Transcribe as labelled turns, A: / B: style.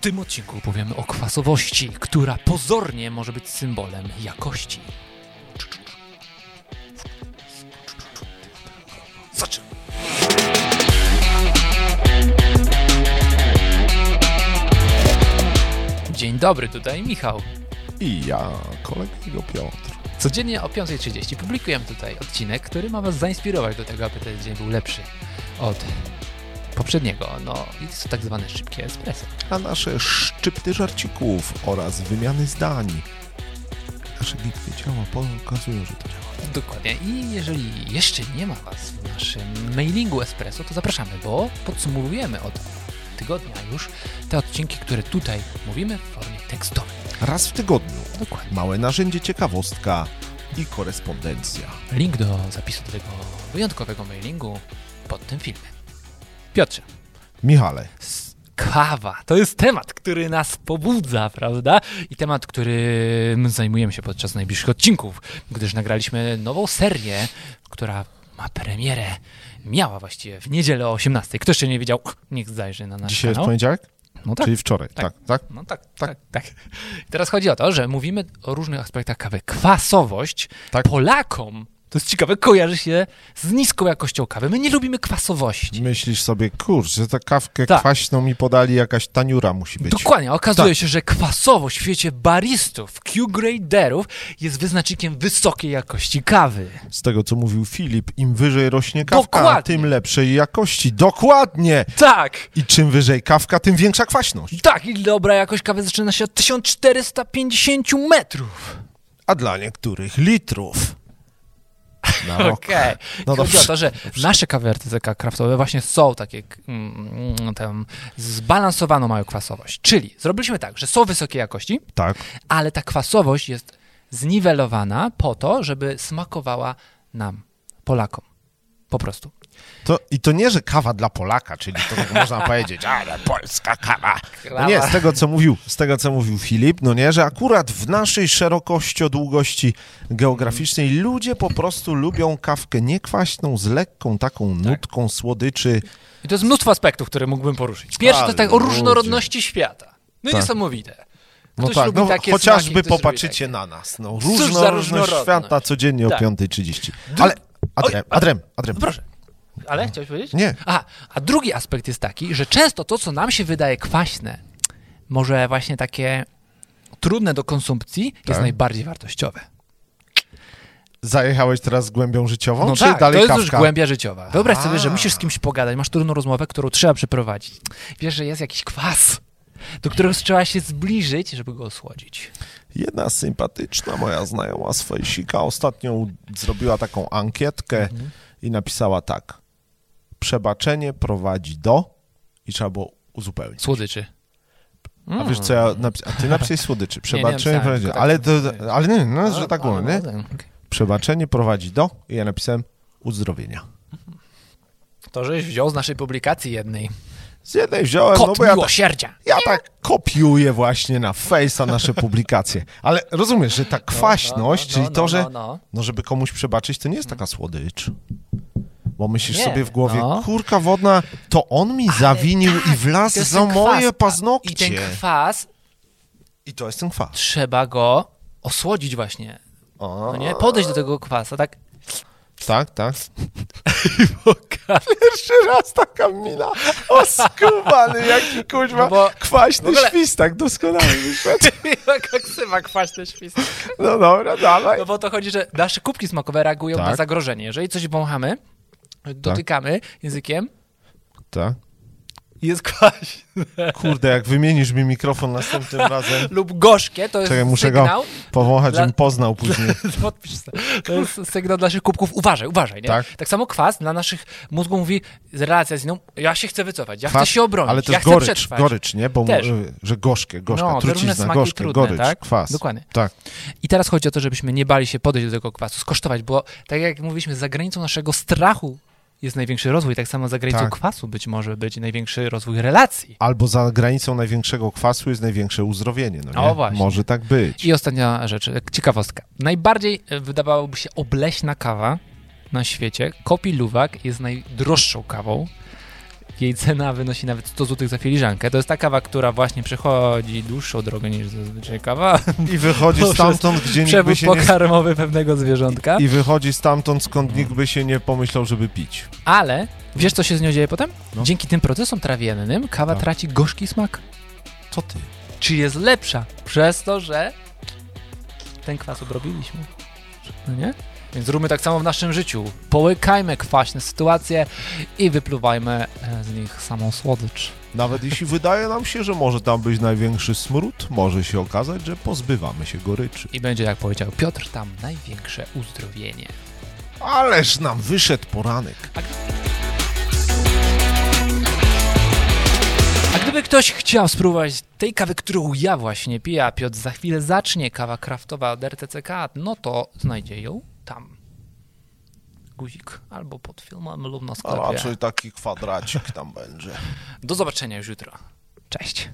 A: tym odcinku powiemy o kwasowości, która pozornie może być symbolem jakości. Zaczynamy. Dzień dobry, tutaj Michał.
B: I ja, kolego Piotr.
A: Codziennie o 5.30 publikujemy tutaj odcinek, który ma Was zainspirować do tego, aby ten dzień był lepszy od poprzedniego. No, i to tak zwane szybkie espresso.
B: A nasze szczypty żarcików oraz wymiany zdań. Nasze bitwy ciała pokazują, że to działa.
A: Dokładnie. I jeżeli jeszcze nie ma Was w naszym mailingu espresso, to zapraszamy, bo podsumowujemy od tygodnia już te odcinki, które tutaj mówimy w formie tekstowej.
B: Raz w tygodniu.
A: Dokładnie.
B: Małe narzędzie ciekawostka i korespondencja.
A: Link do zapisu do tego wyjątkowego mailingu pod tym filmem. Piotrze,
B: Michale,
A: S- Kawa to jest temat, który nas pobudza, prawda? I temat, którym zajmujemy się podczas najbliższych odcinków, gdyż nagraliśmy nową serię, która ma premierę. Miała właściwie w niedzielę o 18. Kto jeszcze nie wiedział, niech zajrzy na nasz
B: dzisiaj jest
A: kanał.
B: poniedziałek?
A: No tak.
B: Czyli wczoraj,
A: Tak.
B: tak, tak?
A: No tak, tak, tak. I teraz chodzi o to, że mówimy o różnych aspektach kawy. Kwasowość
B: Tak.
A: Polakom, to jest ciekawe, kojarzy się z niską jakością kawy. My nie lubimy kwasowości.
B: Myślisz sobie, kurczę, ta kawkę
A: Tak.
B: kwaśną mi podali, jakaś taniura musi być.
A: Dokładnie, okazuje
B: Tak.
A: się, że kwasowo w świecie baristów, Q-graderów jest wyznacznikiem wysokiej jakości kawy.
B: Z tego, co mówił Filip, im wyżej rośnie kawka,
A: Dokładnie.
B: tym lepszej jakości. Dokładnie!
A: Tak,
B: I czym wyżej kawka, tym większa kwaśność.
A: tak, i dobra jakość kawy zaczyna się od 1450 metrów.
B: a dla niektórych litrów. Na rok.
A: Okej.
B: No
A: Chodzi o
B: dobrze.
A: to, że nasze kawy artyzeka kraftowe właśnie są takie mm, mm, tam zbalansowaną mają kwasowość. Czyli zrobiliśmy tak, że są wysokiej jakości,
B: Tak,
A: ale ta kwasowość jest zniwelowana po to, żeby smakowała nam, Polakom. Po prostu.
B: to, i to nie, że kawa dla Polaka, czyli to tak można powiedzieć, ale polska kawa. No nie, z tego, co mówił, z tego, co mówił Filip, no nie, że akurat w naszej szerokości, długości geograficznej ludzie po prostu lubią kawkę niekwaśną, z lekką taką
A: Tak.
B: nutką słodyczy.
A: I to jest mnóstwo aspektów, które mógłbym poruszyć. Pierwszy to jest tak o
B: Ale
A: różnorodności świata. No
B: Tak.
A: niesamowite.
B: No
A: Ktoś
B: tak,
A: lubi
B: no,
A: takie
B: chociażby
A: smaki, ktoś lubi
B: popatrzycie na nas. No,
A: Cóż za
B: różnorodność
A: różnorodność.
B: świata codziennie
A: Tak.
B: o 5.30.
A: Dru-
B: Ale,
A: Oj,
B: Adrem, Adrem, Adrem.
A: No proszę. Ale chciałeś powiedzieć?
B: Nie.
A: Aha, a drugi aspekt jest taki, że często to, co nam się wydaje kwaśne, może właśnie takie trudne do konsumpcji, jest
B: Tak.
A: najbardziej wartościowe.
B: Zajechałeś teraz z głębią życiową,
A: No
B: czy
A: tak, to
B: dalej
A: jest
B: kawka?
A: już głębia życiowa. Wyobraź sobie, że
B: A.
A: musisz z kimś pogadać, masz trudną rozmowę, którą trzeba przeprowadzić. Wiesz, że jest jakiś kwas, do którego trzeba się zbliżyć, żeby go osłodzić.
B: Jedna sympatyczna moja znajoma z Fejsika ostatnio zrobiła taką ankietkę i napisała tak. Przebaczenie prowadzi do... I trzeba było uzupełnić.
A: Słodyczy.
B: A wiesz co ja napis... A ty napisałeś słodyczy. Przebaczenie
A: napisałem,
B: prowadzi do...
A: tylko Mm. tak
B: Ale, to,
A: powiedziałem.
B: ale nie, no, że tak było,
A: Ale-
B: nie?
A: ale- okej.
B: Przebaczenie prowadzi do... I ja napisałem uzdrowienia.
A: To, żeś wziął z naszej publikacji jednej.
B: Z jednej wziąłem,
A: Kot
B: no bo ja tak,
A: miłosierdzia.
B: ja tak kopiuję właśnie na Face'a nasze publikacje. Ale rozumiesz, że ta kwaśność,
A: no, no,
B: czyli
A: no,
B: to, że...
A: no, no.
B: No, żeby komuś przebaczyć, to nie jest taka słodycz. Bo myślisz
A: Nie,
B: sobie w głowie,
A: no. tak,
B: kurka wodna, to on mi zawinił i
A: To
B: wlazł
A: jest
B: za
A: ten kwas.
B: No
A: tak,
B: moje paznokcie.
A: I ten kwas,
B: I to jest ten kwas.
A: trzeba go osłodzić właśnie.
B: O,
A: No nie? Podejść do tego kwasa, tak?
B: Tak, tak.
A: Pokaż.
B: Pierwszy raz taka mina. O, skubany, jaki kuźma.
A: No bo-
B: Kwaśny
A: w ogóle-
B: świstak, doskonale wyszedł.
A: Ksywa kwaśny świst.
B: No dobra, dawaj.
A: No bo o to chodzi, że nasze kubki smakowe reagują
B: Tak.
A: na zagrożenie. Jeżeli coś wąchamy, dotykamy językiem,
B: Tak.
A: jest kwaśne.
B: Kurde, jak wymienisz mi mikrofon następnym razem,
A: Lub gorzkie, to jest
B: czekaj, muszę
A: sygnał.
B: go powąchać,
A: dla-
B: żebym poznał później.
A: Podpisz sobie. To jest sygnał dla naszych kubków. Uważaj, uważaj, nie?
B: Tak.
A: samo kwas dla naszych mózgów mówi, relacja z nią, ja się chcę wycofać, ja
B: Kwas,
A: chcę się obronić,
B: Ale to
A: ja
B: jest
A: chcę
B: gorycz,
A: przetrwać.
B: gorycz, nie? Bo
A: Też.
B: y, że gorzkie, gorzka,
A: No, te różne
B: trucizna,
A: smaki
B: gorzkie,
A: trudne,
B: gorycz,
A: tak?
B: kwas.
A: Dokładnie.
B: Tak.
A: I teraz chodzi o to, żebyśmy nie bali się podejść do tego kwasu, skosztować, bo tak jak mówiliśmy, za granicą naszego strachu jest największy rozwój, tak samo za granicą
B: Tak.
A: kwasu być może być największy rozwój relacji.
B: Albo za granicą największego kwasu jest największe uzdrowienie, no nie?
A: O, właśnie.
B: Może tak być.
A: I ostatnia rzecz, e, ciekawostka. Najbardziej e, wydawałoby się obleśna kawa na świecie, kopi luwak jest najdroższą kawą Jej cena wynosi nawet 100 zł za filiżankę. To jest ta kawa, która właśnie przechodzi dłuższą drogę niż zazwyczaj kawa.
B: I wychodzi
A: Poprzez
B: stamtąd, gdzie nikt by
A: Przewód
B: się nie...
A: pokarmowy pewnego zwierzątka.
B: I wychodzi stamtąd, skąd nikt by się nie pomyślał, żeby pić.
A: Ale wiesz, co się z nią dzieje potem?
B: No.
A: Dzięki tym procesom trawiennym kawa
B: Tak.
A: traci gorzki smak.
B: Co ty?
A: Czy jest lepsza? Przez to, że ten kwas obrobiliśmy. No nie? Więc zróbmy tak samo w naszym życiu. Połykajmy kwaśne sytuacje i wypluwajmy e, z nich samą słodycz.
B: Nawet jeśli wydaje nam się, że może tam być największy smród, może się okazać, że pozbywamy się goryczy.
A: I będzie, jak powiedział Piotr, tam największe uzdrowienie.
B: Ależ nam wyszedł poranek.
A: A gdyby ktoś chciał spróbować tej kawy, którą ja właśnie piję, a Piotr za chwilę zacznie, kawa kraftowa od RTCK, no to znajdzie ją tam. Guzik albo pod filmem lub na
B: A
A: sklepie.
B: raczej taki kwadracik tam będzie.
A: Do zobaczenia już jutro. Cześć.